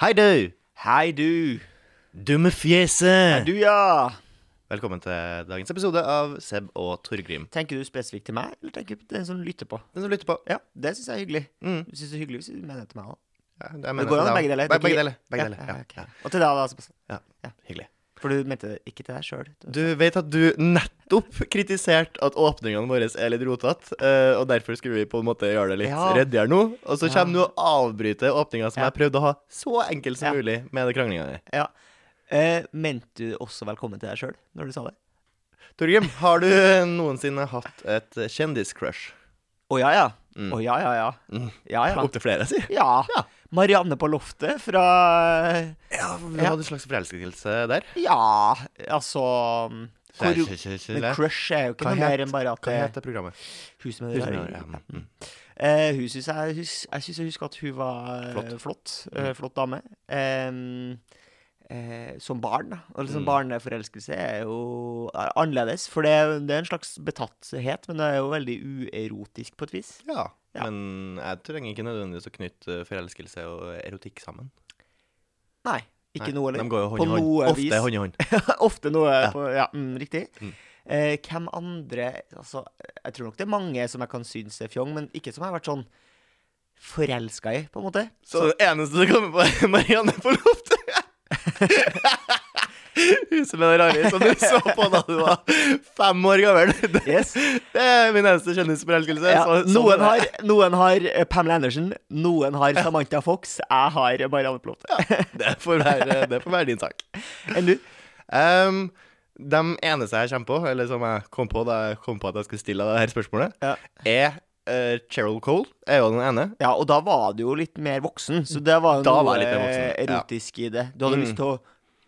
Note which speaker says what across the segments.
Speaker 1: Hei, du!
Speaker 2: Hei, du.
Speaker 1: Dumme fjeset!
Speaker 2: Du, ja.
Speaker 1: Velkommen til dagens episode av Seb og Torgrim.
Speaker 2: Tenker du spesifikt til meg, eller tenker du på den som lytter på?
Speaker 1: Den som lytter på.
Speaker 2: Ja, det syns jeg er hyggelig.
Speaker 1: Mm.
Speaker 2: Du syns det er hyggelig hvis du mener det til meg òg.
Speaker 1: Ja, jeg
Speaker 2: Det
Speaker 1: mener
Speaker 2: går
Speaker 1: til
Speaker 2: an
Speaker 1: deg
Speaker 2: begge deler.
Speaker 1: også. Be- Begge deler. Begge deler.
Speaker 2: Ja,
Speaker 1: Ja,
Speaker 2: ok. Og til deg, da. Sebastian.
Speaker 1: Hyggelig.
Speaker 2: For du mente det ikke til deg sjøl.
Speaker 1: Du vet at du nettopp kritiserte at åpningene våre er litt rotete, eh, og derfor skulle vi på en måte gjøre det litt
Speaker 2: Ja.
Speaker 1: reddere nå. Og så
Speaker 2: Ja.
Speaker 1: kommer du og avbryter åpninga som
Speaker 2: Ja.
Speaker 1: jeg prøvde å ha så enkel som
Speaker 2: Ja.
Speaker 1: mulig med den kranglinga di.
Speaker 2: Ja. Eh, mente du også velkommen til deg sjøl når du sa det?
Speaker 1: Torgrim, har du noensinne hatt et kjendiscrush?
Speaker 2: Å ja, ja. Å
Speaker 1: Mm.
Speaker 2: ja, ja, ja.
Speaker 1: Mm.
Speaker 2: Ja, ja.
Speaker 1: Opptil flere, si.
Speaker 2: ja.
Speaker 1: Ja.
Speaker 2: Marianne på loftet fra
Speaker 1: Ja, du
Speaker 2: Ja.
Speaker 1: hadde en slags forelskelse der.
Speaker 2: Ja, altså hvor, Men
Speaker 1: Hva
Speaker 2: crush er jo ikke
Speaker 1: Hva
Speaker 2: noe
Speaker 1: het-
Speaker 2: mer enn bare at det
Speaker 1: heter programmet?
Speaker 2: Huset med det
Speaker 1: Tusen
Speaker 2: rare-
Speaker 1: takk, ja. Mm.
Speaker 2: Eh, hun synes jeg, hus, jeg synes jeg husker at hun var eh,
Speaker 1: Flott. Mm.
Speaker 2: flott. eh, flott dame. Em, eh, som barn, da. Og
Speaker 1: Mm.
Speaker 2: liksom Barneforelskelse er jo er annerledes. For det er, jo- det er en slags betatthet, men det er jo veldig uerotisk på et vis.
Speaker 1: Ja,
Speaker 2: Ja.
Speaker 1: men jeg trenger ikke nødvendigvis å knytte forelskelse og erotikk sammen.
Speaker 2: Nei, ikke
Speaker 1: Nei,
Speaker 2: noe eller
Speaker 1: De går jo hånd
Speaker 2: på
Speaker 1: i hånd.
Speaker 2: noe
Speaker 1: Ofte
Speaker 2: vis.
Speaker 1: hånd i hånd.
Speaker 2: Ofte noe
Speaker 1: Ja.
Speaker 2: på Ja, mm, riktig.
Speaker 1: Mm.
Speaker 2: Eh, hvem andre Altså, jeg tror nok det er mange som jeg kan synes er fjong, men ikke som jeg har vært sånn forelska i, på en måte.
Speaker 1: Så det eneste som kommer på, er Marianne på loftet. Huset med det rare som du så på da du var fem år gammel. Det,
Speaker 2: Yes.
Speaker 1: det er min eneste kjendisforelskelse.
Speaker 2: Ja,
Speaker 1: så- sånn er
Speaker 2: noen,
Speaker 1: det.
Speaker 2: har, noen har eh, Pamela Andersen, noen har Samantha Fox, jeg har Marianne Plofte.
Speaker 1: det, får være, det får være din sak.
Speaker 2: Enn du?
Speaker 1: Ehm, de eneste jeg kommer på, eller som jeg kom på da jeg kom på at jeg skulle stille deg det her spørsmålet,
Speaker 2: Ja.
Speaker 1: er eh, Cheryl Cole. Er jo den ene.
Speaker 2: Ja, og da var du jo litt mer voksen, så det var jo
Speaker 1: Da
Speaker 2: noe
Speaker 1: var jeg litt mer voksen,
Speaker 2: eh,
Speaker 1: ja.
Speaker 2: erotisk i det. Du hadde
Speaker 1: Mm.
Speaker 2: lyst til å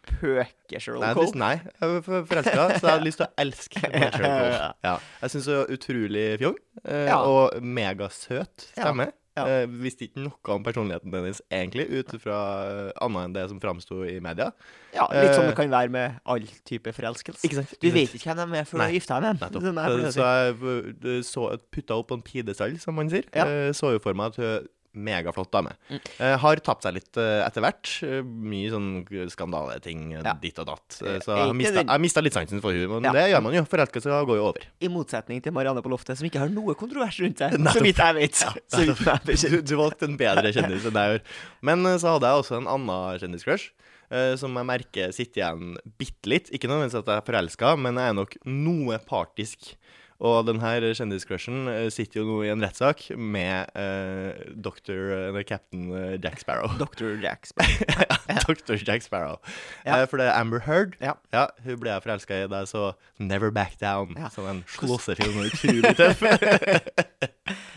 Speaker 2: pøke Sherlock
Speaker 1: Nei, jeg hadde lyst,
Speaker 2: Cole.
Speaker 1: nei, jeg var for- forelska, så jeg hadde lyst til å elske Cheryl Cole. Ja. Jeg syns hun er utrolig fjong, eh,
Speaker 2: Ja.
Speaker 1: og megasøt stemme.
Speaker 2: Ja, ja.
Speaker 1: Eh, visste ikke noe om personligheten hennes, egentlig, ut fra eh, annet enn det som framsto i media.
Speaker 2: Ja, litt som
Speaker 1: Eh,
Speaker 2: det kan være med all type forelskelse.
Speaker 1: Ikke sant?
Speaker 2: Du vet ikke hvem de er før du
Speaker 1: Nei,
Speaker 2: har gifta deg med
Speaker 1: Nettopp.
Speaker 2: dem. Sånn er
Speaker 1: Så,
Speaker 2: det for å si.
Speaker 1: jeg eh, så, putta opp på en pidestall, som man sier.
Speaker 2: Ja.
Speaker 1: Eh, Så jo for meg at hun er megaflott dame.
Speaker 2: Mm.
Speaker 1: Eh, har tapt seg litt eh, etter hvert. Eh, Mye sånn skandaleting eh,
Speaker 2: Ja.
Speaker 1: ditt og datt.
Speaker 2: Eh,
Speaker 1: Eh, Så jeg
Speaker 2: ikke
Speaker 1: mista-
Speaker 2: den-
Speaker 1: jeg mista litt sansen for henne. Men
Speaker 2: Ja.
Speaker 1: det gjør man jo. Forelskelse går jo over.
Speaker 2: I motsetning til Marianne på loftet, som ikke har noe kontrovers rundt seg,
Speaker 1: Nettopp.
Speaker 2: så vidt jeg vet. så vidt jeg vet.
Speaker 1: du, du valgte en bedre kjendis enn jeg gjør. Men eh, så hadde jeg også en annen kjendiscrush. eh, som jeg merker sitter igjen bitte litt. Ikke nødvendigvis at jeg er forelska, men jeg er nok noe partisk. Og den her kjendiscrushen eh, sitter jo nå i en rettssak med eh, Dr. eller Captain eh, Jack Sparrow.
Speaker 2: Dr. Jack Sparrow.
Speaker 1: Dr. Jack Sparrow.
Speaker 2: Ja.
Speaker 1: Eh, for det er Amber Heard.
Speaker 2: Ja.
Speaker 1: Hun ble jeg forelska i da jeg så Never Back Down,
Speaker 2: Ja.
Speaker 1: som en slåssefilm. og Utrolig tøff.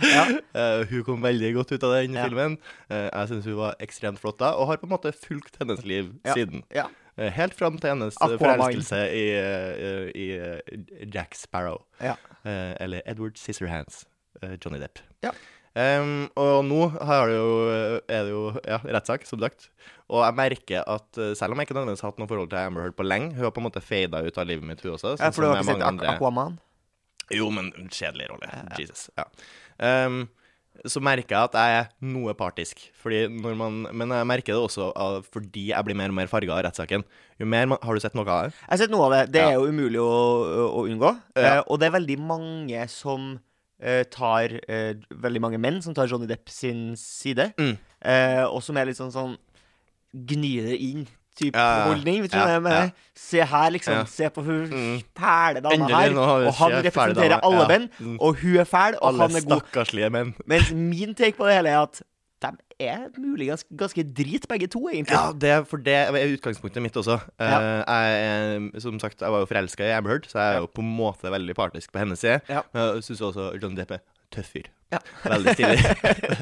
Speaker 2: Ja.
Speaker 1: Eh, hun kom veldig godt ut av den
Speaker 2: Ja.
Speaker 1: filmen. Eh, jeg syns hun var ekstremt flott da, og har på en måte fulgt hennes liv
Speaker 2: Ja.
Speaker 1: siden.
Speaker 2: ja.
Speaker 1: Eh, helt fram til hennes eh,
Speaker 2: Aquaman.
Speaker 1: forelskelse i, eh, i eh, Jack Sparrow.
Speaker 2: Ja.
Speaker 1: Eh, eller Edward Scissorhands. eh, Johnny Depp.
Speaker 2: Ja.
Speaker 1: Em, og nå har det jo, eh, er det jo ja, rettssak, som sagt. Og jeg merker at eh, selv om jeg ikke nødvendigvis har hatt noe forhold til Amber Heard på lenge, hun har på en måte fada ut av livet mitt, hun også.
Speaker 2: Ja,
Speaker 1: sånn
Speaker 2: for du
Speaker 1: som
Speaker 2: har ikke
Speaker 1: mange
Speaker 2: sett Ak-
Speaker 1: andre.
Speaker 2: Aquaman?
Speaker 1: Jo, men en kjedelig rolle.
Speaker 2: Ja, ja.
Speaker 1: Jesus. Ja. Ehm, så merker jeg at jeg er noe partisk. Fordi når man, men jeg merker det også av, fordi jeg blir mer og mer farga av rettssaken. Jo mer man, Har du sett noe av det?
Speaker 2: Jeg har sett noe av det. Det
Speaker 1: Ja.
Speaker 2: er jo umulig å, å unngå.
Speaker 1: Ja.
Speaker 2: Eh, og det er veldig mange som eh, tar eh, Veldig mange menn som tar Johnny Depp sin side.
Speaker 1: Mm.
Speaker 2: Eh, og som er litt sånn sånn Gni det inn. Type
Speaker 1: Ja, ja.
Speaker 2: holdning. Vet du
Speaker 1: Ja,
Speaker 2: hva jeg mener? Se her, liksom.
Speaker 1: Ja.
Speaker 2: Se på hun
Speaker 1: Mm.
Speaker 2: fæle dama
Speaker 1: Endelig,
Speaker 2: her.
Speaker 1: nå har vi
Speaker 2: Og han
Speaker 1: se fæle dama.
Speaker 2: representerer
Speaker 1: Ja.
Speaker 2: alle menn.
Speaker 1: Mm.
Speaker 2: Og hun er fæl, og
Speaker 1: Alle
Speaker 2: han er god.
Speaker 1: stakkarslige menn.
Speaker 2: Mens min take på det hele er at de er mulig ganske, ganske drit, begge to, egentlig.
Speaker 1: Ja, det, for det er utgangspunktet mitt også. Eh,
Speaker 2: Ja.
Speaker 1: jeg, er, som sagt, jeg var jo forelska i Amber Heard, så jeg er jo på en måte veldig partisk på hennes side.
Speaker 2: Ja.
Speaker 1: Men jeg syns også John Depp er tøff fyr.
Speaker 2: Ja.
Speaker 1: Veldig stilig.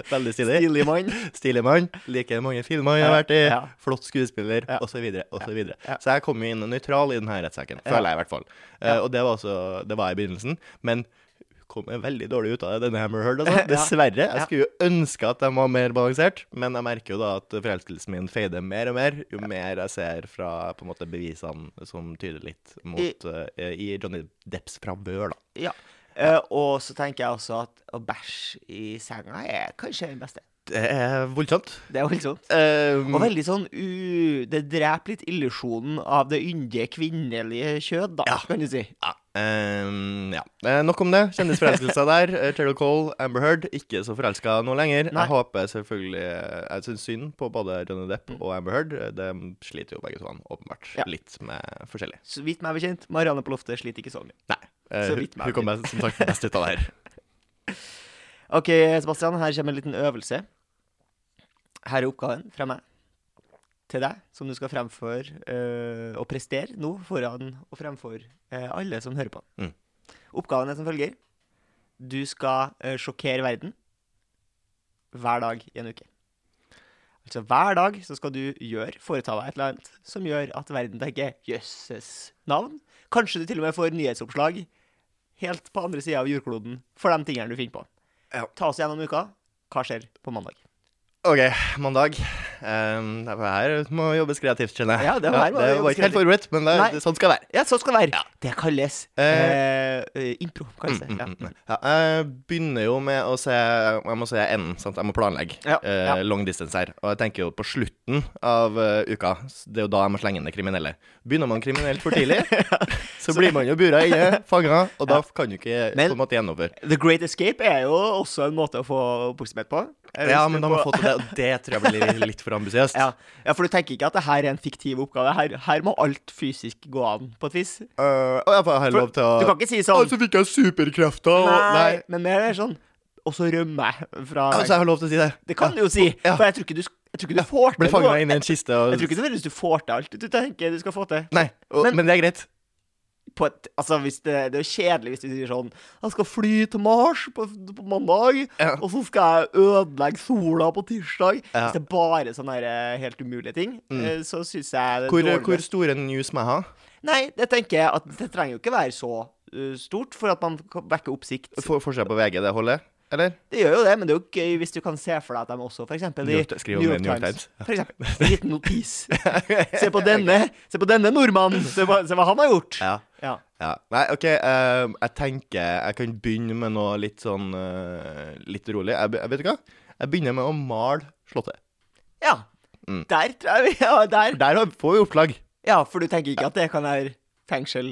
Speaker 1: veldig stilig.
Speaker 2: Stilig mann.
Speaker 1: Stilig mann. Liker mange filmer han har
Speaker 2: Ja,
Speaker 1: vært i.
Speaker 2: ja.
Speaker 1: Flott skuespiller,
Speaker 2: Ja.
Speaker 1: osv. Så, videre, og så, videre.
Speaker 2: ja.
Speaker 1: så jeg kom jo inn nøytral i denne rettssaken,
Speaker 2: Ja.
Speaker 1: føler jeg i hvert fall. Eh,
Speaker 2: Ja.
Speaker 1: og det var, også, det var jeg i begynnelsen. Men kom jeg veldig dårlig ut av det, denne Hammer Heard. Altså.
Speaker 2: Ja.
Speaker 1: Dessverre. Jeg
Speaker 2: Ja.
Speaker 1: skulle jo ønske at de var mer balansert, men jeg merker jo da at forelskelsen min fader mer og mer jo mer jeg ser fra på en måte bevisene som tyder litt mot eh, i Johnny Depps fravør, da.
Speaker 2: Ja. Eh, og så tenker jeg også at å bæsje i senga er kanskje den beste.
Speaker 1: Det er voldsomt.
Speaker 2: Det er voldsomt.
Speaker 1: Um,
Speaker 2: Og veldig sånn u... Det dreper litt illusjonen av det yndige kvinnelige kjød, da, kan du si.
Speaker 1: ja. Um, ja. Eh, nok om det. Kjendisforelskelser der. Eh, Cheryl Cole, Amber Heard, ikke så forelska nå lenger.
Speaker 2: Nei.
Speaker 1: Jeg håper selvfølgelig eh, Jeg syns synd på både Johnny Depp og Amber Heard. De sliter jo begge to, han, åpenbart.
Speaker 2: Mm. Ja.
Speaker 1: Litt med forskjellig.
Speaker 2: Så vidt meg bekjent, Marianne på loftet sliter ikke så mye.
Speaker 1: Nei. Eh,
Speaker 2: Så
Speaker 1: hun-
Speaker 2: vidt meg
Speaker 1: hun kom best- som sagt best ut av det her.
Speaker 2: OK, Sebastian, her kommer en liten øvelse. Her er oppgaven fra meg til deg, som du skal fremføre eh, og prestere nå foran og fremfor eh, alle som hører på.
Speaker 1: Mm.
Speaker 2: Oppgaven er som følger. Du skal eh, sjokkere verden hver dag i en uke. Altså Hver dag så skal du gjøre, foreta deg et eller annet som gjør at verden tenker 'jøsses navn'. Kanskje du til og med får nyhetsoppslag helt på andre sida av jordkloden for de tingene du finner på.
Speaker 1: Ja.
Speaker 2: Ta oss gjennom uka. Hva skjer på mandag?
Speaker 1: OK, mandag. Um, det var her må jobbes kreativt, skjønner jeg.
Speaker 2: Ja, det var her må
Speaker 1: det
Speaker 2: jobbes
Speaker 1: var ikke helt forberedt, men det,
Speaker 2: Nei.
Speaker 1: det, sånn skal det være.
Speaker 2: Ja, sånn skal det være. Det kalles eh, eh, impro,
Speaker 1: Mm,
Speaker 2: kanskje.
Speaker 1: mm, mm,
Speaker 2: ja.
Speaker 1: mm. Ja, jeg begynner jo med å se Jeg må se enden. Sant? Jeg må planlegge
Speaker 2: Ja,
Speaker 1: eh,
Speaker 2: ja.
Speaker 1: long distance her. Og jeg tenker jo på slutten av eh, uka. S- Det er jo da jeg må slenge inn det kriminelle. Begynner man kriminelt for tidlig, så blir man jo bura inne, fanga, og da kan du ikke
Speaker 2: Men-
Speaker 1: på en måte gjennomføre.
Speaker 2: The Great Escape er jo også en måte å få oppmerksomhet på. Eh, hvis
Speaker 1: Ja,
Speaker 2: du
Speaker 1: men da må jeg
Speaker 2: på-
Speaker 1: få til det, og det tror jeg blir litt- litt for ambisiøst.
Speaker 2: ja. ja, for du tenker ikke at det her er en fiktiv oppgave. Her, her må alt fysisk gå an, på et vis.
Speaker 1: Eh, og jeg får- jeg har lov til å
Speaker 2: Du kan ikke si
Speaker 1: Å,
Speaker 2: sånn
Speaker 1: så fikk jeg superkrefter! og-
Speaker 2: Nei, men mer er sånn Og så rømmer jeg fra
Speaker 1: Altså, jeg har lov til å si det.
Speaker 2: Det kan du jo si,
Speaker 1: Ja.
Speaker 2: for jeg tror ikke du, sk- jeg tror ikke du får til
Speaker 1: Ble fanga
Speaker 2: noe.
Speaker 1: inn i en kiste og
Speaker 2: Jeg tror ikke nødvendigvis du får til alt du tenker du skal få til.
Speaker 1: Nei, og,
Speaker 2: Men-
Speaker 1: men det er greit.
Speaker 2: på et, altså hvis det, det er jo kjedelig hvis du sier sånn Jeg skal fly til Mars på, på mandag,
Speaker 1: Ja.
Speaker 2: og så skal jeg ødelegge sola på tirsdag.
Speaker 1: Ja. Mm.
Speaker 2: Hvis det er bare sånne her helt umulige ting, eh, så syns jeg det er
Speaker 1: Hvor, eh,
Speaker 2: dårlig.
Speaker 1: hvor store news må jeg ha?
Speaker 2: Nei, det tenker jeg at det trenger jo ikke være så eh, stort for at man kan vekke oppsikt.
Speaker 1: For, Forskjell på VG, det holder? Eller?
Speaker 2: Det gjør jo det, men det er jo gøy hvis du kan se for deg at de også for eksempel,
Speaker 1: New York- skriv om det i New York
Speaker 2: For eksempel. En liten notis. Se på denne, se på denne nordmannen. Se, hva- se hva han har gjort.
Speaker 1: Ja.
Speaker 2: Ja.
Speaker 1: ja. Nei, OK, eh, jeg tenker jeg kan begynne med noe litt sånn eh, litt rolig. Jeg, be- jeg vet du hva? Jeg begynner med å male Slottet.
Speaker 2: ja.
Speaker 1: Mm.
Speaker 2: Der tror jeg vi Ja, der.
Speaker 1: Der har- får vi opplag.
Speaker 2: Ja, for du tenker ikke at det kan være fengsel?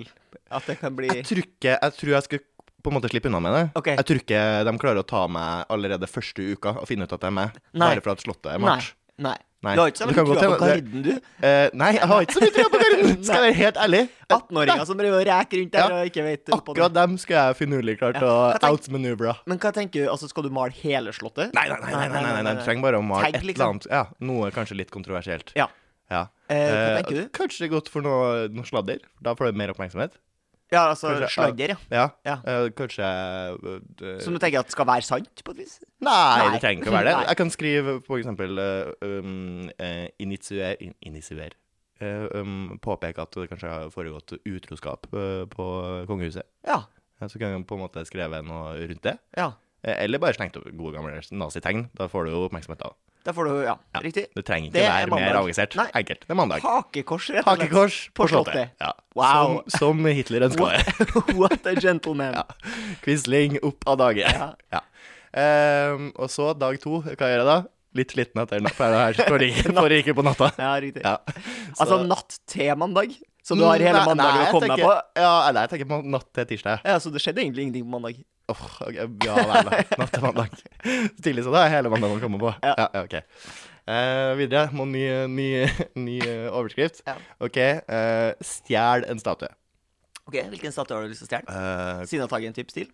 Speaker 2: At det kan bli
Speaker 1: Jeg tror ikke Jeg tror jeg skal på en måte slippe unna med det.
Speaker 2: Ok.
Speaker 1: Jeg tror ikke de klarer å ta meg allerede første uka og finne ut at jeg er meg,
Speaker 2: Nei.
Speaker 1: bare for at Slottet er
Speaker 2: Nei.
Speaker 1: malt.
Speaker 2: Nei.
Speaker 1: Nei.
Speaker 2: Du har ikke så
Speaker 1: Det
Speaker 2: mye
Speaker 1: kan godt
Speaker 2: trua på
Speaker 1: hende- det-
Speaker 2: Garden, du.
Speaker 1: Eh, nei, jeg har ikke så mye trua på Karin, skal jeg være helt ærlig.
Speaker 2: 18-åringer som driver og reker rundt der
Speaker 1: Ja,
Speaker 2: og ikke vet opp og ned.
Speaker 1: Akkurat dem skulle jeg finurlig klart å
Speaker 2: Ja. Jeg tenk-
Speaker 1: outmanøvre.
Speaker 2: Men hva tenker du? Altså, skal du male hele Slottet?
Speaker 1: Nei, nei, nei, nei, nei, nei, nei, du trenger bare å male
Speaker 2: Tagg,
Speaker 1: et eller
Speaker 2: liksom.
Speaker 1: annet. Ja, noe kanskje litt kontroversielt.
Speaker 2: Ja.
Speaker 1: Ja.
Speaker 2: Eh, hva
Speaker 1: Eh,
Speaker 2: tenker du?
Speaker 1: Kanskje godt for noe, noe sladder. Da får du mer oppmerksomhet.
Speaker 2: Ja, altså
Speaker 1: Kanskje-
Speaker 2: slagger, ja.
Speaker 1: Ja.
Speaker 2: Ja.
Speaker 1: Eh, kanskje eh, eh,
Speaker 2: Som du tenker at skal være sant, på et vis?
Speaker 1: Nei, det trenger ikke å være det.
Speaker 2: Nei.
Speaker 1: Jeg kan skrive for eksempel eh, um, eh, initier, in, initier. Eh, um, påpeke at det kanskje har foregått utroskap eh, på kongehuset.
Speaker 2: Ja.
Speaker 1: Ja, så kan jeg på en måte skrive noe rundt det.
Speaker 2: ja.
Speaker 1: Eh, Eller bare slengt opp gode gamle nazitegn. Da får du jo oppmerksomhet da.
Speaker 2: Da får du Ja, riktig.
Speaker 1: Det trenger ikke
Speaker 2: Det er
Speaker 1: være
Speaker 2: mandag.
Speaker 1: mer avansert.
Speaker 2: Nei.
Speaker 1: Enkelt. Det er mandag.
Speaker 2: Hakekors, rett og slett.
Speaker 1: Hakekors
Speaker 2: På
Speaker 1: på slottet.
Speaker 2: slottet.
Speaker 1: Ja.
Speaker 2: Wow.
Speaker 1: Som, som Hitler ønska det.
Speaker 2: What a gentleman.
Speaker 1: Quisling opp av dage.
Speaker 2: Ja.
Speaker 1: Ehm, og så dag to. Hva gjør jeg da? Litt sliten etter natt. for Det her forrige forrige uke på natta.
Speaker 2: Ja, Mm, riktig.
Speaker 1: Ja.
Speaker 2: Altså
Speaker 1: Så-
Speaker 2: natt til mandag, som du har hele
Speaker 1: Nei,
Speaker 2: mandagen
Speaker 1: nei,
Speaker 2: å komme
Speaker 1: jeg
Speaker 2: deg på.
Speaker 1: tenker- Ja, nei, jeg tenker på natt til tirsdag.
Speaker 2: Ja, Så det skjedde egentlig ingenting på mandag.
Speaker 1: Åh, ok, ja, nei, nei. Natt til mandag. Så Tidlig så da er hele mandagen å komme på.
Speaker 2: Ja.
Speaker 1: Ja, ja ok. Eh, videre må ny, ny, ny eh, overskrift.
Speaker 2: Ja.
Speaker 1: OK. eh, stjel en statue.
Speaker 2: Ok, Hvilken statue har du lyst til å stjele?
Speaker 1: Eh,
Speaker 2: Sinnataggen-type stil?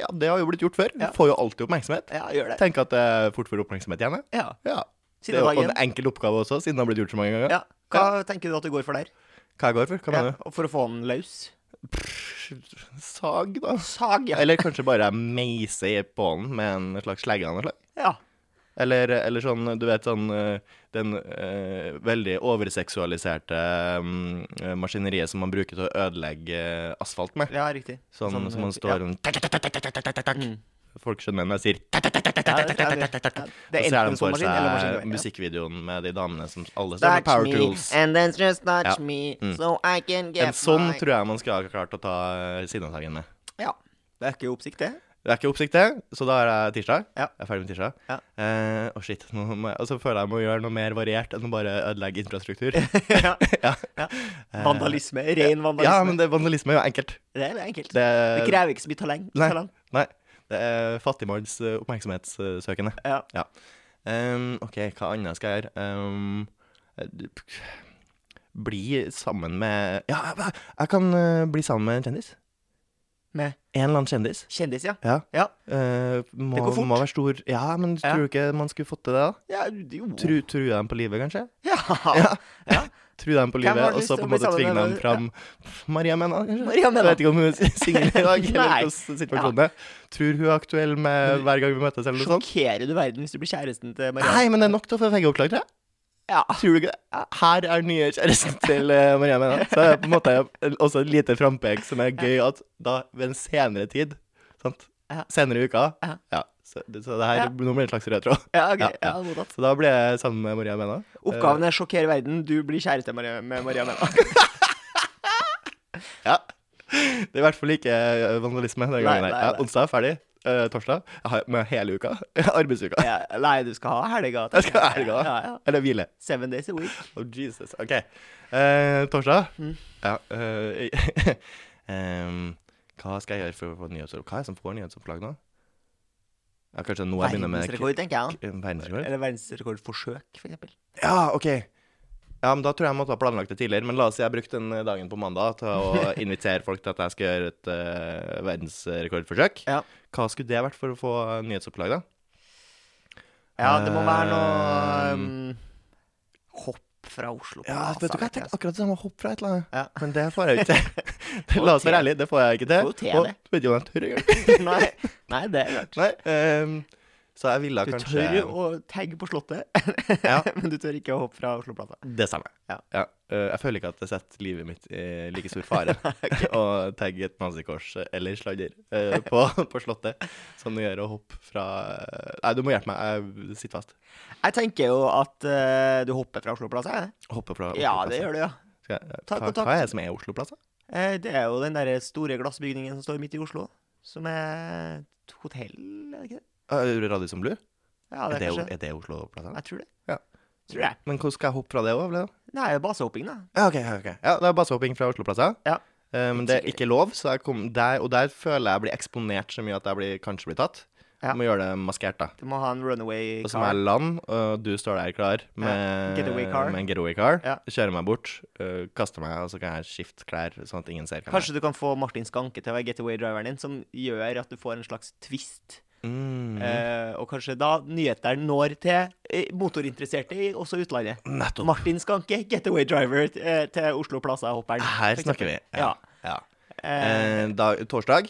Speaker 1: ja, det har jo blitt gjort før.
Speaker 2: Ja.
Speaker 1: Får jo alltid oppmerksomhet.
Speaker 2: Ja, gjør det.
Speaker 1: Tenk at det fort får oppmerksomhet igjen. jeg.
Speaker 2: Ja.
Speaker 1: Ja. Det er jo
Speaker 2: Sinnataggen.
Speaker 1: en enkel oppgave også, siden det har blitt gjort så mange ganger.
Speaker 2: Ja. Hva tenker du at du går for der?
Speaker 1: Hva jeg går for? Hva
Speaker 2: Ja.
Speaker 1: mener du?
Speaker 2: For å få den løs?
Speaker 1: Sag, da.
Speaker 2: Sag, ja.
Speaker 1: Eller kanskje bare meise i bålen med en slags slegge av noe slag.
Speaker 2: ja.
Speaker 1: Eller, eller sånn, du vet sånn eh, Den eh, veldig overseksualiserte mm, eh, maskineriet som man bruker til å ødelegge eh, asfalt med.
Speaker 2: Ja, riktig.
Speaker 1: Sånn
Speaker 2: Sånn,
Speaker 1: som man
Speaker 2: ja. Mm.
Speaker 1: står og tak, tak, tak, tak, tak, tak, tak, tak. Folk skjønner når jeg sier tak, tak, tak, tak,
Speaker 2: Ja,
Speaker 1: tak, tak,
Speaker 2: det-
Speaker 1: tak,
Speaker 2: ja,
Speaker 1: tak, tak, tak.
Speaker 2: ja,
Speaker 1: Og
Speaker 2: det er
Speaker 1: så er
Speaker 2: enten
Speaker 1: de for
Speaker 2: sånn maskin eller
Speaker 1: seg
Speaker 2: maskin, ja.
Speaker 1: musikkvideoen med de damene som alle står med
Speaker 2: Touch
Speaker 1: power
Speaker 2: me,
Speaker 1: tools.
Speaker 2: and then just touch
Speaker 1: Ja.
Speaker 2: me,
Speaker 1: Mm.
Speaker 2: so I can get
Speaker 1: En sånn
Speaker 2: my
Speaker 1: tror jeg man skal ha klart å ta eh, Sinnataggen med.
Speaker 2: Ja. Det er ikke oppsikt, det.
Speaker 1: Det er ikke oppsikt, det. Så da er det tirsdag.
Speaker 2: Ja.
Speaker 1: Jeg er ferdig med tirsdag.
Speaker 2: Ja.
Speaker 1: Eh, og shit, nå må jeg, og så føler jeg jeg må gjøre noe mer variert enn å bare ødelegge infrastruktur.
Speaker 2: ja.
Speaker 1: ja.
Speaker 2: ja. Vandalisme. Ren vandalisme.
Speaker 1: ja, men det, vandalisme er jo enkelt.
Speaker 2: det er enkelt.
Speaker 1: Det,
Speaker 2: Det krever ikke så mye talent.
Speaker 1: Nei.
Speaker 2: talent.
Speaker 1: Nei. Det er fattigmanns eh, oppmerksomhetssøkende.
Speaker 2: Ja.
Speaker 1: Em, OK, hva annet skal jeg gjøre? Em, eh, d- bli sammen med Ja, jeg- jeg kan eh, bli sammen med en kjendis.
Speaker 2: Med
Speaker 1: En eller annen kjendis.
Speaker 2: kjendis, ja.
Speaker 1: Ja.
Speaker 2: Ja.
Speaker 1: Eh, må,
Speaker 2: går fort.
Speaker 1: Må være stor. Ja, men
Speaker 2: Ja.
Speaker 1: tror du ikke man skulle fått til det, da?
Speaker 2: ja jo.
Speaker 1: Tru, true dem på livet, kanskje?
Speaker 2: Ja.
Speaker 1: Ja.
Speaker 2: Ja.
Speaker 1: True dem på
Speaker 2: Hvem
Speaker 1: livet,
Speaker 2: har
Speaker 1: og
Speaker 2: lyst
Speaker 1: så på
Speaker 2: til å
Speaker 1: en
Speaker 2: bli
Speaker 1: måte
Speaker 2: sammen
Speaker 1: tvinge
Speaker 2: med-
Speaker 1: dem fram. Maria Menna, kanskje?
Speaker 2: Maria Menna.
Speaker 1: Jeg vet ikke om hun er singel i dag, eller
Speaker 2: Nei.
Speaker 1: hvordan situasjonen er. Tror hun er aktuell med hver gang vi møtes, eller noe sånt?
Speaker 2: Sjokkerer du verden hvis du blir kjæresten til Maria?
Speaker 1: Nei, men det er nok til å få VG opplag, tror jeg.
Speaker 2: Ja.
Speaker 1: Tror du ikke det? Her er nye kjæresten til eh, Maria Menna. Så det er på en måte også et lite frampek som er gøy at da ved en senere tid, sant?
Speaker 2: Ja.
Speaker 1: Senere i uka,
Speaker 2: Ja.
Speaker 1: ja. Så, så det her,
Speaker 2: Ja.
Speaker 1: nå blir det en slags rød tråd.
Speaker 2: Ja, ok.
Speaker 1: Ja,
Speaker 2: Ja,
Speaker 1: ja.
Speaker 2: mottatt.
Speaker 1: Så da blir jeg sammen med Maria Menna.
Speaker 2: Oppgaven er sjokkere verden. Du blir kjæreste med Maria- med Maria Mena.
Speaker 1: Ja. Det er i hvert fall ikke eh, vandalisme den gangen.
Speaker 2: Nei,
Speaker 1: her.
Speaker 2: nei,
Speaker 1: Ja,
Speaker 2: nei.
Speaker 1: onsdag er ferdig. Eh, torsdag jeg har med hele uka. Arbeidsuka.
Speaker 2: Ja, nei, du skal ha helga. tenker
Speaker 1: Jeg skal ha
Speaker 2: jeg.
Speaker 1: helga.
Speaker 2: Ja, ja.
Speaker 1: Eller hvile.
Speaker 2: Seven days a week.
Speaker 1: Oh, Jesus. OK. Eh, torsdag.
Speaker 2: Mm.
Speaker 1: Ja. eh, em, hva skal jeg gjøre for å få nyhetsoppslag? Hva er det som får nyhetsoppslag nå? Ja, kanskje nå jeg begynner med
Speaker 2: Verdensrekord, tenker jeg. da.
Speaker 1: k- verdensrekord?
Speaker 2: Eller verdensrekordforsøk, for eksempel.
Speaker 1: Ja, OK. Ja, men Da tror jeg jeg måtte ha planlagt det tidligere. Men la oss si jeg brukte den eh, dagen på mandag til å invitere folk til at jeg skal gjøre et eh, verdensrekordforsøk.
Speaker 2: Ja.
Speaker 1: Hva skulle det vært for å få eh, nyhetsopplag, da?
Speaker 2: ja, det må være noe
Speaker 1: Um,
Speaker 2: um, Hopp fra Oslo.
Speaker 1: Ja,
Speaker 2: Plaza,
Speaker 1: vet du hva, jeg
Speaker 2: vet jeg,
Speaker 1: tenkte akkurat det samme hopp fra et eller annet.
Speaker 2: Ja.
Speaker 1: Men det får jeg jo ikke til. La oss være ærlige, det får jeg ikke til.
Speaker 2: Får jo til
Speaker 1: Og
Speaker 2: det.
Speaker 1: vet ikke om jeg tør engang.
Speaker 2: altså. Nei, nei, det er rart.
Speaker 1: Nei. ehm, så jeg ville
Speaker 2: Du
Speaker 1: kanskje
Speaker 2: tør jo å tagge på Slottet,
Speaker 1: Ja,
Speaker 2: men du tør ikke å hoppe fra Oslo Plata.
Speaker 1: det stemmer.
Speaker 2: Ja.
Speaker 1: eh, jeg føler ikke at det setter livet mitt i like stor fare å tagge et nazikors eller sladder eh, på, på Slottet som det gjør å hoppe fra eh, Nei, du må hjelpe meg. Jeg sitter fast.
Speaker 2: Jeg tenker jo at eh, du hopper fra Oslo Plaza. jeg.
Speaker 1: Hoppe fra
Speaker 2: Ja, det gjør du, ja.
Speaker 1: Skal jeg, eh,
Speaker 2: Ta
Speaker 1: hva,
Speaker 2: kontakt.
Speaker 1: hva er det som er Oslo Plaza?
Speaker 2: Eh, Det er jo den der store glassbygningen som står midt i Oslo, som er et hotell, er det ikke det?
Speaker 1: Eh, Radisson Blue? Er
Speaker 2: Ja, det
Speaker 1: det,
Speaker 2: er
Speaker 1: jo-
Speaker 2: kanskje
Speaker 1: er det Oslo Plaza?
Speaker 2: Jeg tror det.
Speaker 1: Ja.
Speaker 2: Tror jeg.
Speaker 1: Men hvordan skal jeg hoppe fra det òg?
Speaker 2: Nei, basehopping, da.
Speaker 1: Ja, ok, ok, ok. Ja, det er basehopping fra Oslo-plasser.
Speaker 2: Ja.
Speaker 1: men det er ikke lov, så jeg kom der, og der føler jeg blir eksponert så mye at jeg blir, kanskje blir tatt.
Speaker 2: Ja.
Speaker 1: Må gjøre det maskert, da.
Speaker 2: Du må ha en runaway
Speaker 1: Og så må
Speaker 2: car.
Speaker 1: jeg lande, og du står der klar med,
Speaker 2: Getaway car.
Speaker 1: med en getaway car.
Speaker 2: Ja.
Speaker 1: Kjører meg bort, øh, kaster meg, og så kan jeg skifte klær, sånn at ingen ser hvem jeg
Speaker 2: Kanskje du kan få Martin Skanke til å være getaway-driveren din, som gjør at du får en slags
Speaker 1: er.
Speaker 2: twist.
Speaker 1: Mm.
Speaker 2: Eh, og kanskje da nyheter når til eh, motorinteresserte i også utlandet.
Speaker 1: Nettopp.
Speaker 2: Martin Skanke, getaway driver eh, til Oslo Plaza-hopperen.
Speaker 1: Her
Speaker 2: for
Speaker 1: snakker vi.
Speaker 2: eksempel. Ja.
Speaker 1: ja.
Speaker 2: Eh,
Speaker 1: Eh, da, torsdag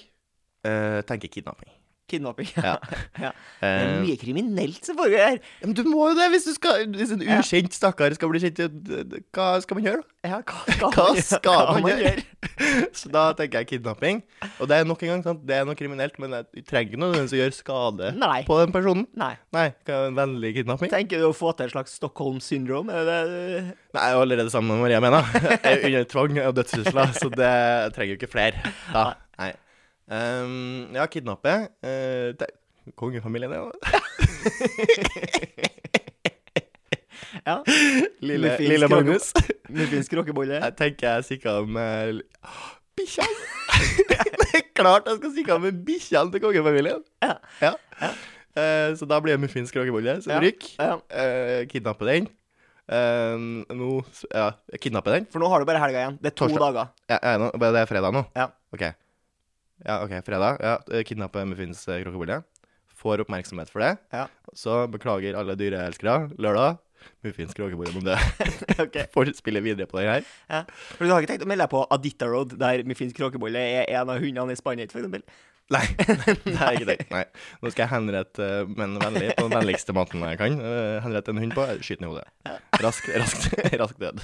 Speaker 1: eh, tenker kidnapping.
Speaker 2: kidnapping.
Speaker 1: Ja.
Speaker 2: ja. Det er
Speaker 1: Eh,
Speaker 2: mye kriminelt som foregår her.
Speaker 1: ja, men du må jo det hvis, du skal, hvis en
Speaker 2: Ja.
Speaker 1: ukjent stakkar skal bli kjent. Hva skal man gjøre, da?
Speaker 2: Ja, hva skal,
Speaker 1: Hva skal man
Speaker 2: man gjøre?
Speaker 1: gjøre? Så da tenker jeg kidnapping. Og det er nok en gang sant? det er noe kriminelt, men jeg trenger ikke noen som gjør skade
Speaker 2: Nei.
Speaker 1: på den personen.
Speaker 2: Nei.
Speaker 1: Nei, hva er en vennlig kidnapping.
Speaker 2: Tenker du å få til et slags Stockholm syndrom? Er det det eh, du-
Speaker 1: Nei, jeg er jo allerede sammen med Maria Mena. Jeg er under tvang og dødstrusler, så det jeg trenger jo ikke flere. Da. Nei. Ehm, ja, kidnappe. eh, det Kongefamilien, det, da.
Speaker 2: Ja.
Speaker 1: Lille,
Speaker 2: Muffins
Speaker 1: lille
Speaker 2: krage-
Speaker 1: Magnus.
Speaker 2: Muffinsk rockebolle.
Speaker 1: Jeg tenker jeg stikker av med bikkja. det er klart jeg skal stikke av med bikkja til kongefamilien.
Speaker 2: Ja.
Speaker 1: Ja. Eh, så da blir det muffins kråkebolle som
Speaker 2: Ja.
Speaker 1: ryker.
Speaker 2: Ja.
Speaker 1: Eh, kidnappe den. Eh, nå Ja, kidnappe den.
Speaker 2: For nå har du bare helga igjen. Det er to
Speaker 1: Torsdag.
Speaker 2: dager.
Speaker 1: Ja, ja, nå, bare det er fredag nå?
Speaker 2: Ja.
Speaker 1: OK. Ja, ok, fredag. Ja, eh, kidnappe muffins eh, kråkebolle. Får oppmerksomhet for det.
Speaker 2: Ja.
Speaker 1: Så beklager alle dyreelskere. Lørdag. Muffins kråkebolle må dø.
Speaker 2: Ok.
Speaker 1: Får spille videre på den her.
Speaker 2: Ja. For du har ikke tenkt å melde deg på Adita Road, der Muffinsk rockebolle er en av hundene i spannet, for eksempel?
Speaker 1: Nei, det er ikke det. Nei. Nå skal jeg henrette eh, men vennlig på den vennligste måten jeg kan. Eh, Henrette en hund på, skyte den i hodet. Rask, raskt, rask død.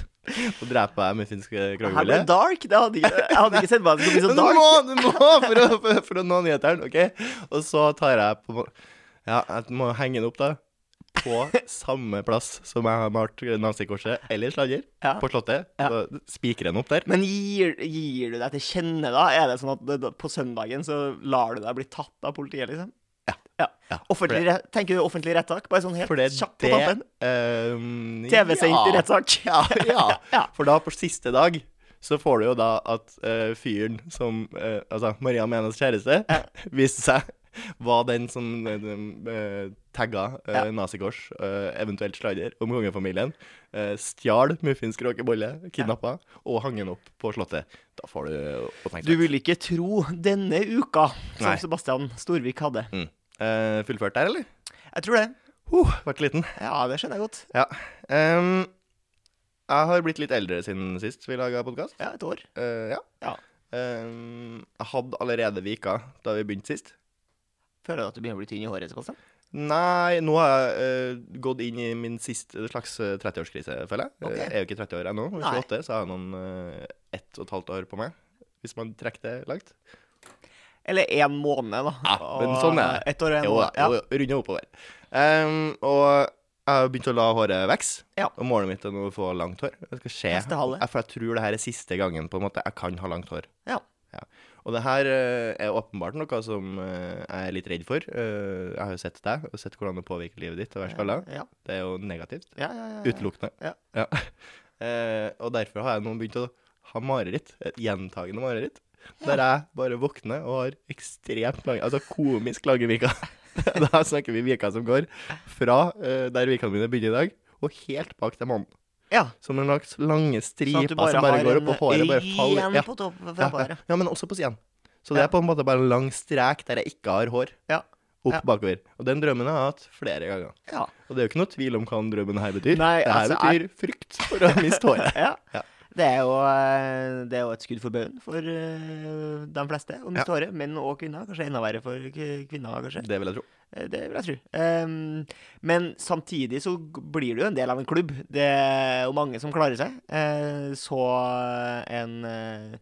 Speaker 1: Så dreper jeg eh, muffinsk
Speaker 2: Her ble
Speaker 1: krogebolle.
Speaker 2: det dark. Det hadde ikke, jeg hadde ikke sett meg som så
Speaker 1: Men du
Speaker 2: dark.
Speaker 1: må, du må for å, for, for å nå nyhetene, OK? Og så tar jeg på Ja, jeg må henge den opp, da. på samme plass som jeg har malt Nansekorset eller sladder,
Speaker 2: Ja.
Speaker 1: på Slottet.
Speaker 2: Ja.
Speaker 1: Så spikrer den opp der.
Speaker 2: Men gir, gir du deg til kjenne da? Er det sånn at det- da- på søndagen så lar du deg bli tatt av politiet, liksom?
Speaker 1: Ja.
Speaker 2: ja.
Speaker 1: Ja,
Speaker 2: Offentlig, re- tenker du offentlig rettssak? Bare sånn helt
Speaker 1: For det
Speaker 2: kjapt på
Speaker 1: det
Speaker 2: tampen?
Speaker 1: ehm,
Speaker 2: TV-sendt
Speaker 1: ja.
Speaker 2: rettssak?
Speaker 1: Ja, ja.
Speaker 2: Ja.
Speaker 1: For da, på siste dag, så får du jo da at eh, fyren som eh, Altså, Maria Menas kjæreste viste seg var den som uh, tagga uh,
Speaker 2: Ja.
Speaker 1: nazikors, eh, eventuelt slider, om kongefamilien. eh, stjal muffins kråkebolle, kidnappa, og hang den opp på Slottet. Da får du
Speaker 2: Du
Speaker 1: oppmerksomhet.
Speaker 2: vil ikke tro denne uka som
Speaker 1: Nei.
Speaker 2: Sebastian Storvik hadde.
Speaker 1: Mm. Eh, fullført der, eller?
Speaker 2: Jeg tror det.
Speaker 1: Huh, vært liten.
Speaker 2: Ja, det skjønner jeg godt.
Speaker 1: Ja. Ehm, jeg har blitt litt eldre siden sist vi laga podkast.
Speaker 2: Ja, et år.
Speaker 1: ja.
Speaker 2: Ja.
Speaker 1: Ehm, jeg hadde allerede vika da vi begynte sist.
Speaker 2: Føler du at du begynner å bli tynn i håret? Sebastian?
Speaker 1: Nei, nå har jeg eh, gått inn i min siste slags eh, 30-årskrise, føler jeg.
Speaker 2: Ok.
Speaker 1: Eh, Jeg er jo ikke 30 år ennå. men
Speaker 2: Nei.
Speaker 1: 28, så har jeg noen eh, ett og et halvt år på meg. Hvis man trekker det langt.
Speaker 2: Eller én måned, da.
Speaker 1: Ja, men
Speaker 2: Og
Speaker 1: sånn er det.
Speaker 2: Et år og en
Speaker 1: Jo,
Speaker 2: måned.
Speaker 1: da, jo, jo, runde oppover. Ehm, og jeg har begynt å la håret vokse.
Speaker 2: Ja.
Speaker 1: Og målet mitt er nå å få langt hår. Det skal skje.
Speaker 2: Neste halve.
Speaker 1: Jeg- For jeg tror det her er siste gangen på en måte jeg kan ha langt hår.
Speaker 2: Ja.
Speaker 1: Ja. Og det her eh, er åpenbart noe som eh, jeg er litt redd for. Eh, jeg har jo sett deg, og sett hvordan det påvirker livet ditt å være skalla.
Speaker 2: Ja.
Speaker 1: Det er jo negativt.
Speaker 2: Ja, ja, ja, ja.
Speaker 1: Utelukkende.
Speaker 2: Ja.
Speaker 1: Eh, og derfor har jeg nå begynt å ha mareritt. Et gjentagende mareritt. Der jeg bare våkner og har ekstremt lange Altså komisk lange viker. da snakker vi viker som går fra eh, der vikene mine begynner i dag, og helt bak til mannen.
Speaker 2: ja.
Speaker 1: Som en slags lange striper
Speaker 2: Sånn at du bare,
Speaker 1: som bare
Speaker 2: har
Speaker 1: går opp, og håret bare faller.
Speaker 2: en
Speaker 1: Ja,
Speaker 2: ren på toppen fra
Speaker 1: ja,
Speaker 2: bare.
Speaker 1: ja, ja, men også på siden. Så det er på en måte bare en lang strek der jeg ikke har hår.
Speaker 2: Ja.
Speaker 1: Opp
Speaker 2: Ja.
Speaker 1: bakover. Og den drømmen har jeg hatt flere ganger.
Speaker 2: Ja.
Speaker 1: Og det er jo ikke noe tvil om hva den drømmen her betyr.
Speaker 2: Nei,
Speaker 1: det her
Speaker 2: altså,
Speaker 1: betyr frykt for å miste håret.
Speaker 2: ja.
Speaker 1: Ja.
Speaker 2: Det er, jo, eh, det er jo et skudd for baugen for eh, de fleste, om
Speaker 1: Ja.
Speaker 2: miste håret, menn og kvinner. Kanskje enda verre for k- kvinner, kanskje.
Speaker 1: Det vil jeg tro.
Speaker 2: Eh, Det vil jeg tro. Em, men samtidig så g- blir du jo en del av en klubb. Det er jo mange som klarer seg. Eh, så en eh,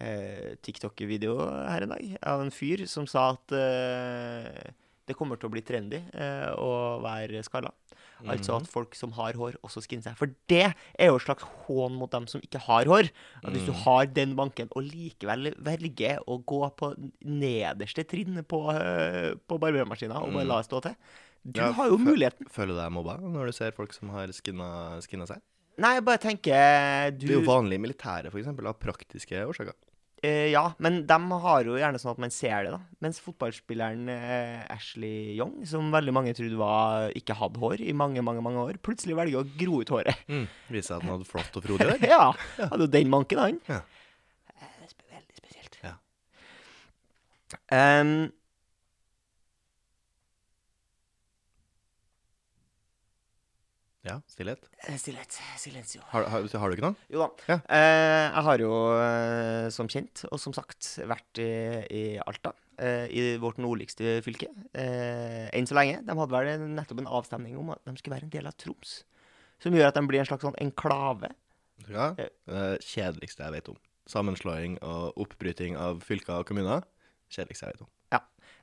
Speaker 2: eh, TikTok-video her en dag av en fyr som sa at eh, det kommer til å bli trendy eh, å være skalla. Altså at folk som har hår, også skinner seg. For det er jo et slags hån mot dem som ikke har hår. At hvis du har den banken, og likevel velger å gå på nederste trinn på, eh, på barbermaskina og bare la det stå til Du
Speaker 1: Mm. Ja,
Speaker 2: har jo
Speaker 1: fø-
Speaker 2: muligheten.
Speaker 1: Føler du deg mobba når du ser folk som har skinna, skinna seg?
Speaker 2: Nei, jeg bare tenker du
Speaker 1: Det er jo vanlig i militæret, for eksempel, av praktiske årsaker.
Speaker 2: Eh, ja, men de har jo gjerne sånn at man ser det, da. Mens fotballspilleren eh, Ashley Young, som veldig mange trodde var, ikke hadde hår i mange, mange mange år, plutselig velger å gro ut håret.
Speaker 1: Mm. Viser seg at den hadde flott og frodig der.
Speaker 2: ja, Hadde jo den manken, han.
Speaker 1: Ja.
Speaker 2: Eh, det er sp- veldig spesielt. Ehm,
Speaker 1: Ja.
Speaker 2: Em,
Speaker 1: Ja, stillhet.
Speaker 2: eh, stillhet. Silencio.
Speaker 1: Har, har, har du ikke noe?
Speaker 2: Jo da.
Speaker 1: Ja.
Speaker 2: Eh, jeg har jo, eh, som kjent og som sagt, vært i, i Alta. eh, I vårt nordligste fylke. Eh, enn så lenge. De hadde vel en- nettopp en avstemning om at de skulle være en del av Troms. Som gjør at de blir en slags sånn enklave.
Speaker 1: Vet du hva? Det er det kjedeligste jeg vet om. Sammenslåing og oppbryting av fylker og kommuner. Kjedeligste jeg vet om.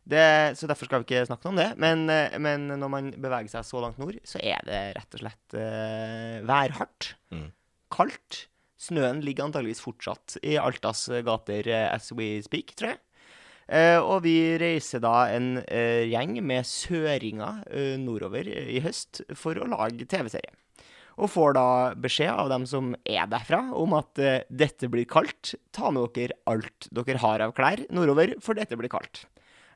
Speaker 2: Det, så derfor skal vi ikke snakke noe om det. Men, eh, men når man beveger seg så langt nord, så er det rett og slett eh, værhardt.
Speaker 1: Mm.
Speaker 2: Kaldt. Snøen ligger antageligvis fortsatt i Altas eh, gater eh, as we speak, tror jeg. Eh, og vi reiser da en eh, gjeng med søringer eh, nordover eh, i høst for å lage TV-serie. Og får da beskjed av dem som er derfra, om at eh, dette blir kaldt. Ta med dere alt dere har av klær nordover, for dette blir kaldt.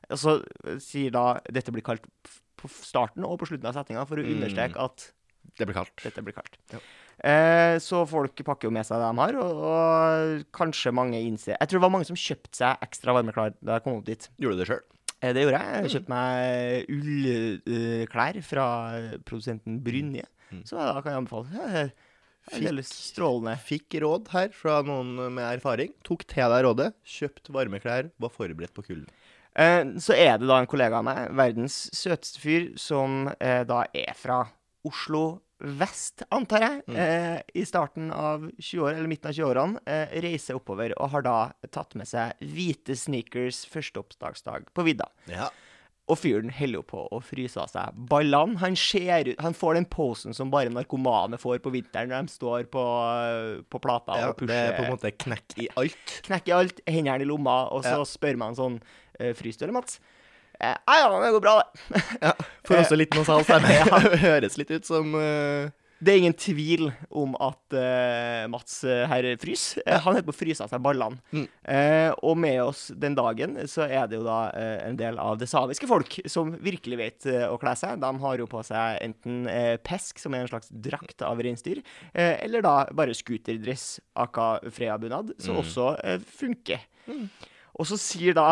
Speaker 2: Og så eh, sier da dette blir kaldt f- på starten og på slutten av setninga for å
Speaker 1: Mm.
Speaker 2: understreke at
Speaker 1: Det blir kaldt.
Speaker 2: dette blir kaldt.
Speaker 1: Ja.
Speaker 2: Eh, så folk pakker jo med seg det de har, og, og kanskje mange innser Jeg tror det var mange som kjøpte seg ekstra varmeklær da jeg kom opp dit.
Speaker 1: Gjorde du det sjøl?
Speaker 2: Eh, Det gjorde jeg. Jeg kjøpte meg ullklær fra produsenten Brynje. Så da kan jeg anbefale. Ja, det er Veldig strålende.
Speaker 1: Fikk råd her fra noen med erfaring. Tok til deg rådet. Kjøpt varme klær. Var forberedt på kulden.
Speaker 2: Eh, Så er det da en kollega av meg, verdens søteste fyr, som eh, da er fra Oslo vest, antar jeg,
Speaker 1: Mm.
Speaker 2: eh, i starten av 20-åra, eller midten av 20-årene, eh, reiser oppover og har da tatt med seg hvite sneakers første oppstartsdag på vidda.
Speaker 1: Ja.
Speaker 2: Og fyren holder jo på å fryse av seg ballene. Han, ser ut, han får den posen som bare narkomane får på vinteren når de står på, på plata
Speaker 1: Ja,
Speaker 2: og
Speaker 1: det er på en
Speaker 2: pusher.
Speaker 1: måte knekk i alt.
Speaker 2: Knekker alt, hendene i lomma, og så
Speaker 1: Ja.
Speaker 2: spør man sånn eh, Fryser du, eller, Mats? Eh, Nei ja, det går bra, det.
Speaker 1: For også litt nasal stemme.
Speaker 2: Ja.
Speaker 1: Det Høres litt ut som eh,
Speaker 2: Det er ingen tvil om at eh, Mats eh, her fryser. Eh, han holder på å fryse av seg ballene.
Speaker 1: Mm.
Speaker 2: Eh, og med oss den dagen så er det jo da eh, en del av det samiske folk som virkelig vet eh, å kle seg. De har jo på seg enten eh, pesk, som er en slags drakt av reinsdyr, eh, eller da bare scooterdress, aka Freia-bunad, som også eh, funker. Og så sier da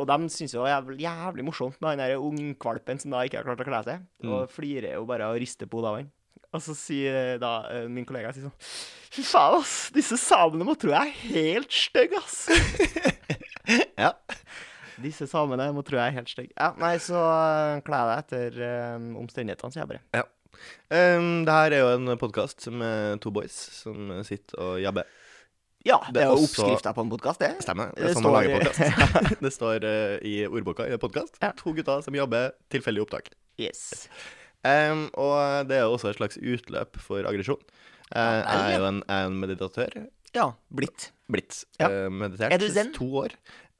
Speaker 2: Og de syns jo det er jævlig, jævlig morsomt med han der ungkvalpen som da ikke har klart å kle seg, og flirer jo bare og rister på hodet av han. Og så sier da eh, min kollega sier sånn Fy faen, ass. Disse samene må tro jeg er helt stygg, ass.
Speaker 1: Ja.
Speaker 2: Disse samene må tro jeg er helt stygg. Ja, nei, så eh, kler jeg deg etter eh, omstendighetene, sier jeg bare.
Speaker 1: ja. Um, det her er jo en podkast med to boys som sitter og jabber.
Speaker 2: Ja,
Speaker 1: Det
Speaker 2: det
Speaker 1: er
Speaker 2: er jo
Speaker 1: også-
Speaker 2: oppskrifta på en podkast, det.
Speaker 1: Stemmer. Det
Speaker 2: Det
Speaker 1: er sånn man
Speaker 2: står-
Speaker 1: lager podkast. Det står eh, i ordboka i podkast.
Speaker 2: Ja.
Speaker 1: To gutter som jabber. Tilfeldig opptak.
Speaker 2: Yes.
Speaker 1: Em, og det er jo også et slags utløp for aggresjon. Eh, jeg er jo en, jeg er en meditatør.
Speaker 2: Ja, blitt.
Speaker 1: Blitt
Speaker 2: Ja.
Speaker 1: eh, meditert
Speaker 2: Er du zen?
Speaker 1: to år.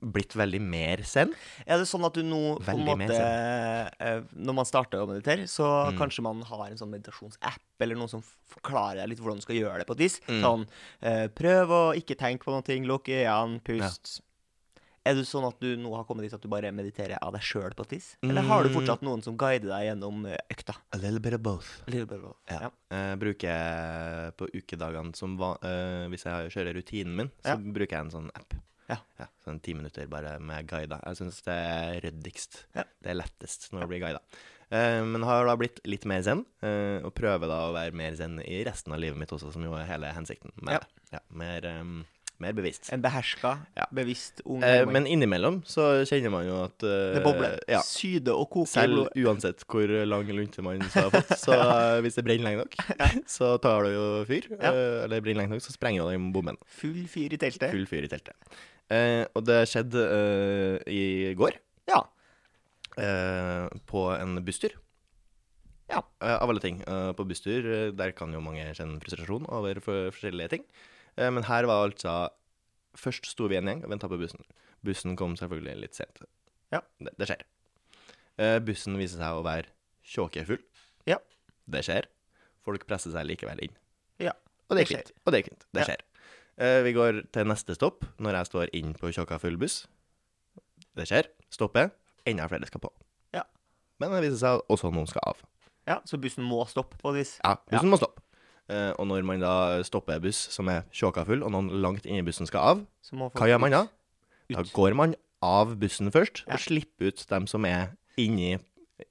Speaker 1: Blitt veldig mer zen.
Speaker 2: Er det sånn at du nå på en
Speaker 1: Veldig med
Speaker 2: måte eh, Når man starter å meditere, så
Speaker 1: Mm.
Speaker 2: kanskje man har en sånn meditasjonsapp eller noen som f- forklarer deg litt hvordan du skal gjøre det på et vis.
Speaker 1: Mm.
Speaker 2: Sånn eh, Prøv å ikke tenke på noen ting, lukk øynene, pust. Er det sånn at du nå har kommet dit at du bare mediterer av deg sjøl på et vis? Eller har
Speaker 1: Mm.
Speaker 2: du fortsatt noen som guider deg gjennom eh, økta?
Speaker 1: A little bit of both.
Speaker 2: Little bit of-
Speaker 1: Ja.
Speaker 2: Ja.
Speaker 1: Eh, bruker jeg på ukedagene som va eh, Hvis jeg kjører rutinen min, så
Speaker 2: Ja.
Speaker 1: bruker jeg en sånn app.
Speaker 2: Ja.
Speaker 1: sånn ti minutter bare med guider. Jeg syns det er ryddigst.
Speaker 2: Ja.
Speaker 1: Det er lettest når det blir guida. Eh, men har da blitt litt mer zen, eh, og prøver da å være mer zen i resten av livet mitt også, som jo er hele hensikten med
Speaker 2: Ja.
Speaker 1: det. Ja, mer, eh, mer bevisst.
Speaker 2: En beherska,
Speaker 1: Ja.
Speaker 2: bevisst ung
Speaker 1: Eh,
Speaker 2: nordmann.
Speaker 1: men innimellom så kjenner man jo at eh,
Speaker 2: Det bobler.
Speaker 1: Ja,
Speaker 2: Syder og koker i
Speaker 1: selv
Speaker 2: blodet.
Speaker 1: uansett hvor lang lunte man så har fått. Så eh, hvis det brenner lenge nok, så tar det jo fyr.
Speaker 2: Ja.
Speaker 1: Eh, Eller brenner lenge nok, så sprenger jo den bommen.
Speaker 2: Full fyr i teltet.
Speaker 1: Full fyr i teltet. Eh, og det skjedde eh, i går,
Speaker 2: Ja.
Speaker 1: eh, på en busstur.
Speaker 2: Ja.
Speaker 1: Eh, av alle ting. Eh, på busstur eh, der kan jo mange kjenne frustrasjon over for forskjellige ting. Eh, men her var altså Først sto vi en gjeng og venta på bussen. Bussen kom selvfølgelig litt sent.
Speaker 2: Ja.
Speaker 1: Det, det skjer. Eh, bussen viser seg å være tjåkefull.
Speaker 2: Ja.
Speaker 1: Det skjer. Folk presser seg likevel inn.
Speaker 2: Ja.
Speaker 1: Og det er
Speaker 2: Det
Speaker 1: fint. Og det er fint. Det
Speaker 2: Ja.
Speaker 1: skjer. Eh, vi går til neste stopp, når jeg står inn på tjåka full buss. Det skjer. Stopper. Enda flere skal på.
Speaker 2: Ja.
Speaker 1: Men det viser seg at også noen skal av.
Speaker 2: ja. Så bussen må stoppe på et vis.
Speaker 1: Ja, bussen må stoppe. Eh, og når man da stopper buss som er tjåka full, og noen langt inni bussen skal av,
Speaker 2: Så må folk
Speaker 1: hva gjør man da?
Speaker 2: ut.
Speaker 1: Da går man av bussen først,
Speaker 2: Ja.
Speaker 1: og slipper ut dem som er inni,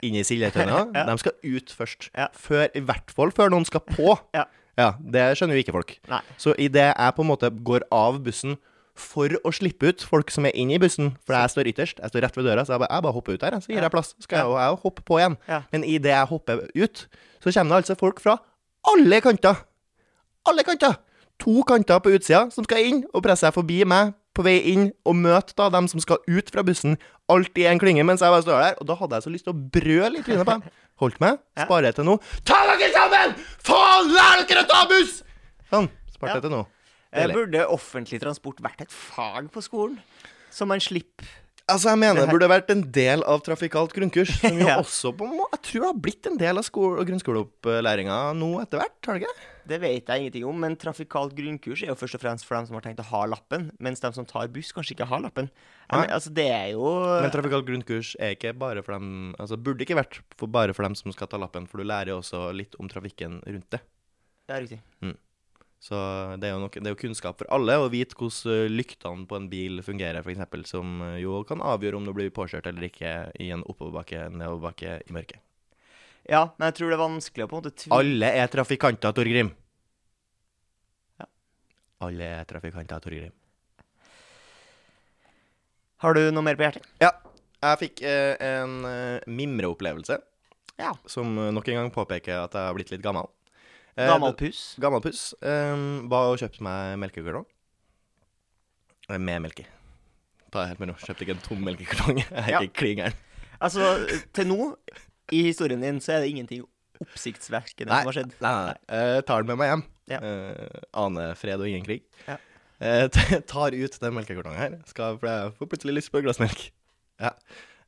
Speaker 1: inni sildetønna.
Speaker 2: Ja.
Speaker 1: De skal ut først.
Speaker 2: Ja.
Speaker 1: Før, I hvert fall før noen skal på.
Speaker 2: Ja.
Speaker 1: Ja, Det skjønner jo ikke folk.
Speaker 2: Nei.
Speaker 1: Så idet jeg på en måte går av bussen for å slippe ut folk som er inne i bussen, for jeg står ytterst, jeg står rett ved døra, så jeg bare, jeg bare hopper ut her, jeg, så gir jeg plass. Så skal jeg jo jeg jo hoppe på igjen.
Speaker 2: Ja.
Speaker 1: Men idet jeg hopper ut, så kommer det altså folk fra alle kanter. Alle kanter! To kanter på utsida som skal inn og presse seg forbi meg på vei inn og møte da dem som skal ut fra bussen, alt i en klynge mens jeg bare står der. Og da hadde jeg så lyst til å brøle i trynet på dem. Holdt meg,
Speaker 2: Ja.
Speaker 1: sparer jeg til nå. Ta dere sammen! Faen, lær dere å ta buss! Sånn. Sparte
Speaker 2: Ja.
Speaker 1: jeg til nå.
Speaker 2: Eh,
Speaker 1: Deilig.
Speaker 2: Burde offentlig transport vært et fag på skolen? Så man slipper
Speaker 1: Altså, jeg mener det burde vært en del av trafikalt grunnkurs, som jo
Speaker 2: Ja.
Speaker 1: også på må, Jeg tror det har blitt en del av skole- og grunnskoleopplæringa nå etter hvert, har det ikke?
Speaker 2: Det vet jeg ingenting om, men trafikalt grunnkurs er jo først og fremst for dem som har tenkt å ha lappen, mens de som tar buss, kanskje ikke har lappen. Jeg
Speaker 1: Nei.
Speaker 2: mener, altså, det er jo
Speaker 1: Men trafikalt grunnkurs er ikke bare for dem Altså, burde ikke vært for bare for dem som skal ta lappen, for du lærer jo også litt om trafikken rundt det.
Speaker 2: Ja, riktig.
Speaker 1: Så det er jo, nok, det er jo kunnskap for alle å vite hvordan eh, lyktene på en bil fungerer, f.eks., som eh, jo kan avgjøre om du blir påkjørt eller ikke i en oppoverbakke, nedoverbakke, i mørket.
Speaker 2: Ja, men jeg tror det er vanskelig å på en måte tvi...
Speaker 1: Alle er trafikanter, Torgrim.
Speaker 2: Ja.
Speaker 1: Alle er trafikanter, Torgrim.
Speaker 2: Har du noe mer på hjertet?
Speaker 1: Ja. Jeg fikk eh, en eh, mimreopplevelse
Speaker 2: Ja.
Speaker 1: som eh, nok en gang påpeker at jeg har blitt litt gammel. Eh,
Speaker 2: Gammel puss?
Speaker 1: det- gammel puss. Eh, var og kjøpte meg melkekartong. Eh, Med melk i. Ta det helt med ro. Kjøpte ikke en tom melkekartong. Jeg er
Speaker 2: Ja.
Speaker 1: ikke klin gæren.
Speaker 2: Altså, til nå i historien din så er det ingenting oppsiktsvekkende som har skjedd.
Speaker 1: Nei, nei, nei. Eh, tar den med meg hjem.
Speaker 2: Ja.
Speaker 1: Eh, aner fred og ingen krig.
Speaker 2: Ja.
Speaker 1: Eh, t- tar ut den melkekartongen her, skal, for jeg får plutselig lyst på et glass melk. Ja.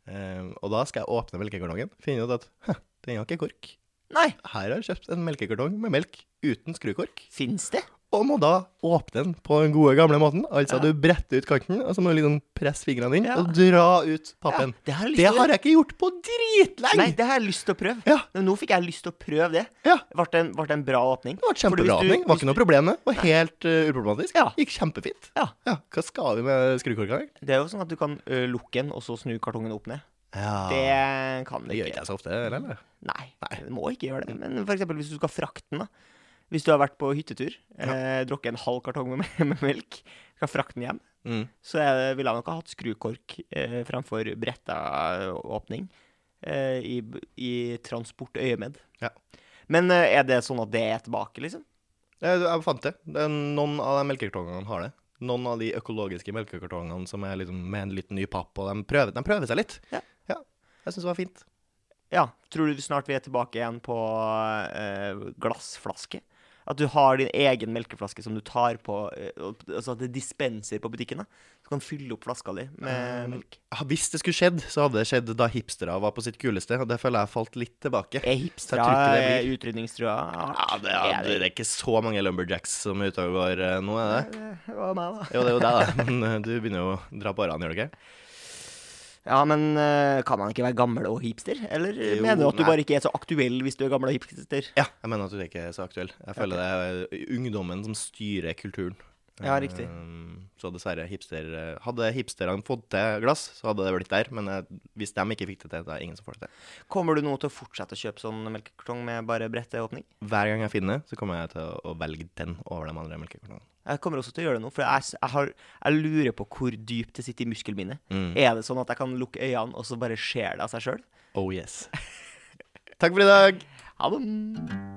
Speaker 1: Eh, og da skal jeg åpne melkekartongen, finne ut at «Hæ, den har ikke kork.
Speaker 2: Nei,
Speaker 1: Her har jeg kjøpt en melkekartong med melk uten skrukork,
Speaker 2: fins det?
Speaker 1: og må da åpne den på den gode gamle måten. Altså
Speaker 2: Ja.
Speaker 1: du bretter ut kanten, og så må du liksom presse fingrene inn
Speaker 2: Ja.
Speaker 1: og dra ut
Speaker 2: Ja,
Speaker 1: pappen.
Speaker 2: det har jeg lyst
Speaker 1: Det
Speaker 2: til.
Speaker 1: har jeg ikke gjort på dritlenge!
Speaker 2: Nei, det har jeg lyst til å prøve.
Speaker 1: Ja.
Speaker 2: Men nå fikk jeg lyst til å prøve det.
Speaker 1: Ja.
Speaker 2: Ble det en, ble det en bra åpning?
Speaker 1: Det var
Speaker 2: Fordi hvis
Speaker 1: kjempebra
Speaker 2: du-
Speaker 1: åpning. Var
Speaker 2: hvis
Speaker 1: ikke noe problem, det. Var helt eh, uproblematisk.
Speaker 2: Ja.
Speaker 1: Gikk kjempefint.
Speaker 2: Ja.
Speaker 1: Hva skal vi med skrukorka? egentlig?
Speaker 2: Det er jo sånn at du kan ø, lukke den, og så snu kartongen opp ned.
Speaker 1: Ah, Det,
Speaker 2: Det kan du
Speaker 1: gjør ikke Mm.
Speaker 2: ikke.
Speaker 1: jeg Mm. så ofte, eller?
Speaker 2: Nei, du må ikke gjøre det. Men for eksempel hvis du skal frakte den, da. Hvis du har vært på hyttetur, eh, drukket en halv kartong med, med melk, skal frakte den hjem,
Speaker 1: Mm.
Speaker 2: så er det- ville jeg nok ha hatt skrukork eh, framfor bretta åpning eh, i, b- i transportøyemed.
Speaker 1: Ja.
Speaker 2: Men eh, er det sånn at det er tilbake, liksom?
Speaker 1: Jeg, jeg fant det. det er noen av de melkekartongene har det. Noen av de økologiske melkekartongene som er liksom med en liten ny papp, og de prøver, de prøver seg litt.
Speaker 2: Ja.
Speaker 1: Jeg syns det var fint.
Speaker 2: Ja. Tror du snart vi er tilbake igjen på eh, glassflaske? At du har din egen melkeflaske som du tar på eh, og- Altså at det er dispenser på butikken. da. Du kan fylle opp flaska di med
Speaker 1: Um,
Speaker 2: melk.
Speaker 1: Ja, Hvis det skulle skjedd, så hadde det skjedd da hipstera var på sitt kuleste, og det føler jeg falt litt tilbake.
Speaker 2: Er
Speaker 1: så jeg tror ikke
Speaker 2: hipstra
Speaker 1: det blir-
Speaker 2: utrydningstrua?
Speaker 1: Ja, det er, det er ikke så mange lumberjacks som er ute og går eh, nå, er det?
Speaker 2: Det var meg, da.
Speaker 1: Jo, det er jo deg, da. Men eh, du begynner jo å dra på årene, gjør du ikke?
Speaker 2: Ja, men eh, kan man ikke være gammel og hipster? Eller eh,
Speaker 1: Jo,
Speaker 2: mener du at du
Speaker 1: nei.
Speaker 2: bare ikke er så aktuell hvis du er gammel og hipster?
Speaker 1: Ja. Jeg mener at du ikke er så aktuell. Jeg føler det er ungdommen som styrer kulturen.
Speaker 2: Ja, riktig.
Speaker 1: Eh, Så dessverre, hipster eh, Hadde hipsterne fått til glass, så hadde det blitt der. Men eh, hvis de ikke fikk det til, det er ingen som får det til.
Speaker 2: Kommer du nå til å fortsette å kjøpe sånn melkekartong med bare bretteåpning?
Speaker 1: Hver gang jeg finner det, så kommer jeg til å velge den over de andre melkekartongene.
Speaker 2: Jeg kommer også til å gjøre det nå, for jeg, s- jeg, har, jeg lurer på hvor dypt det sitter i musklene mine.
Speaker 1: Mm.
Speaker 2: Er det sånn at jeg kan lukke øynene, og så bare skjer det av seg sjøl?
Speaker 1: Oh yes. Takk for i dag.
Speaker 2: Ha det!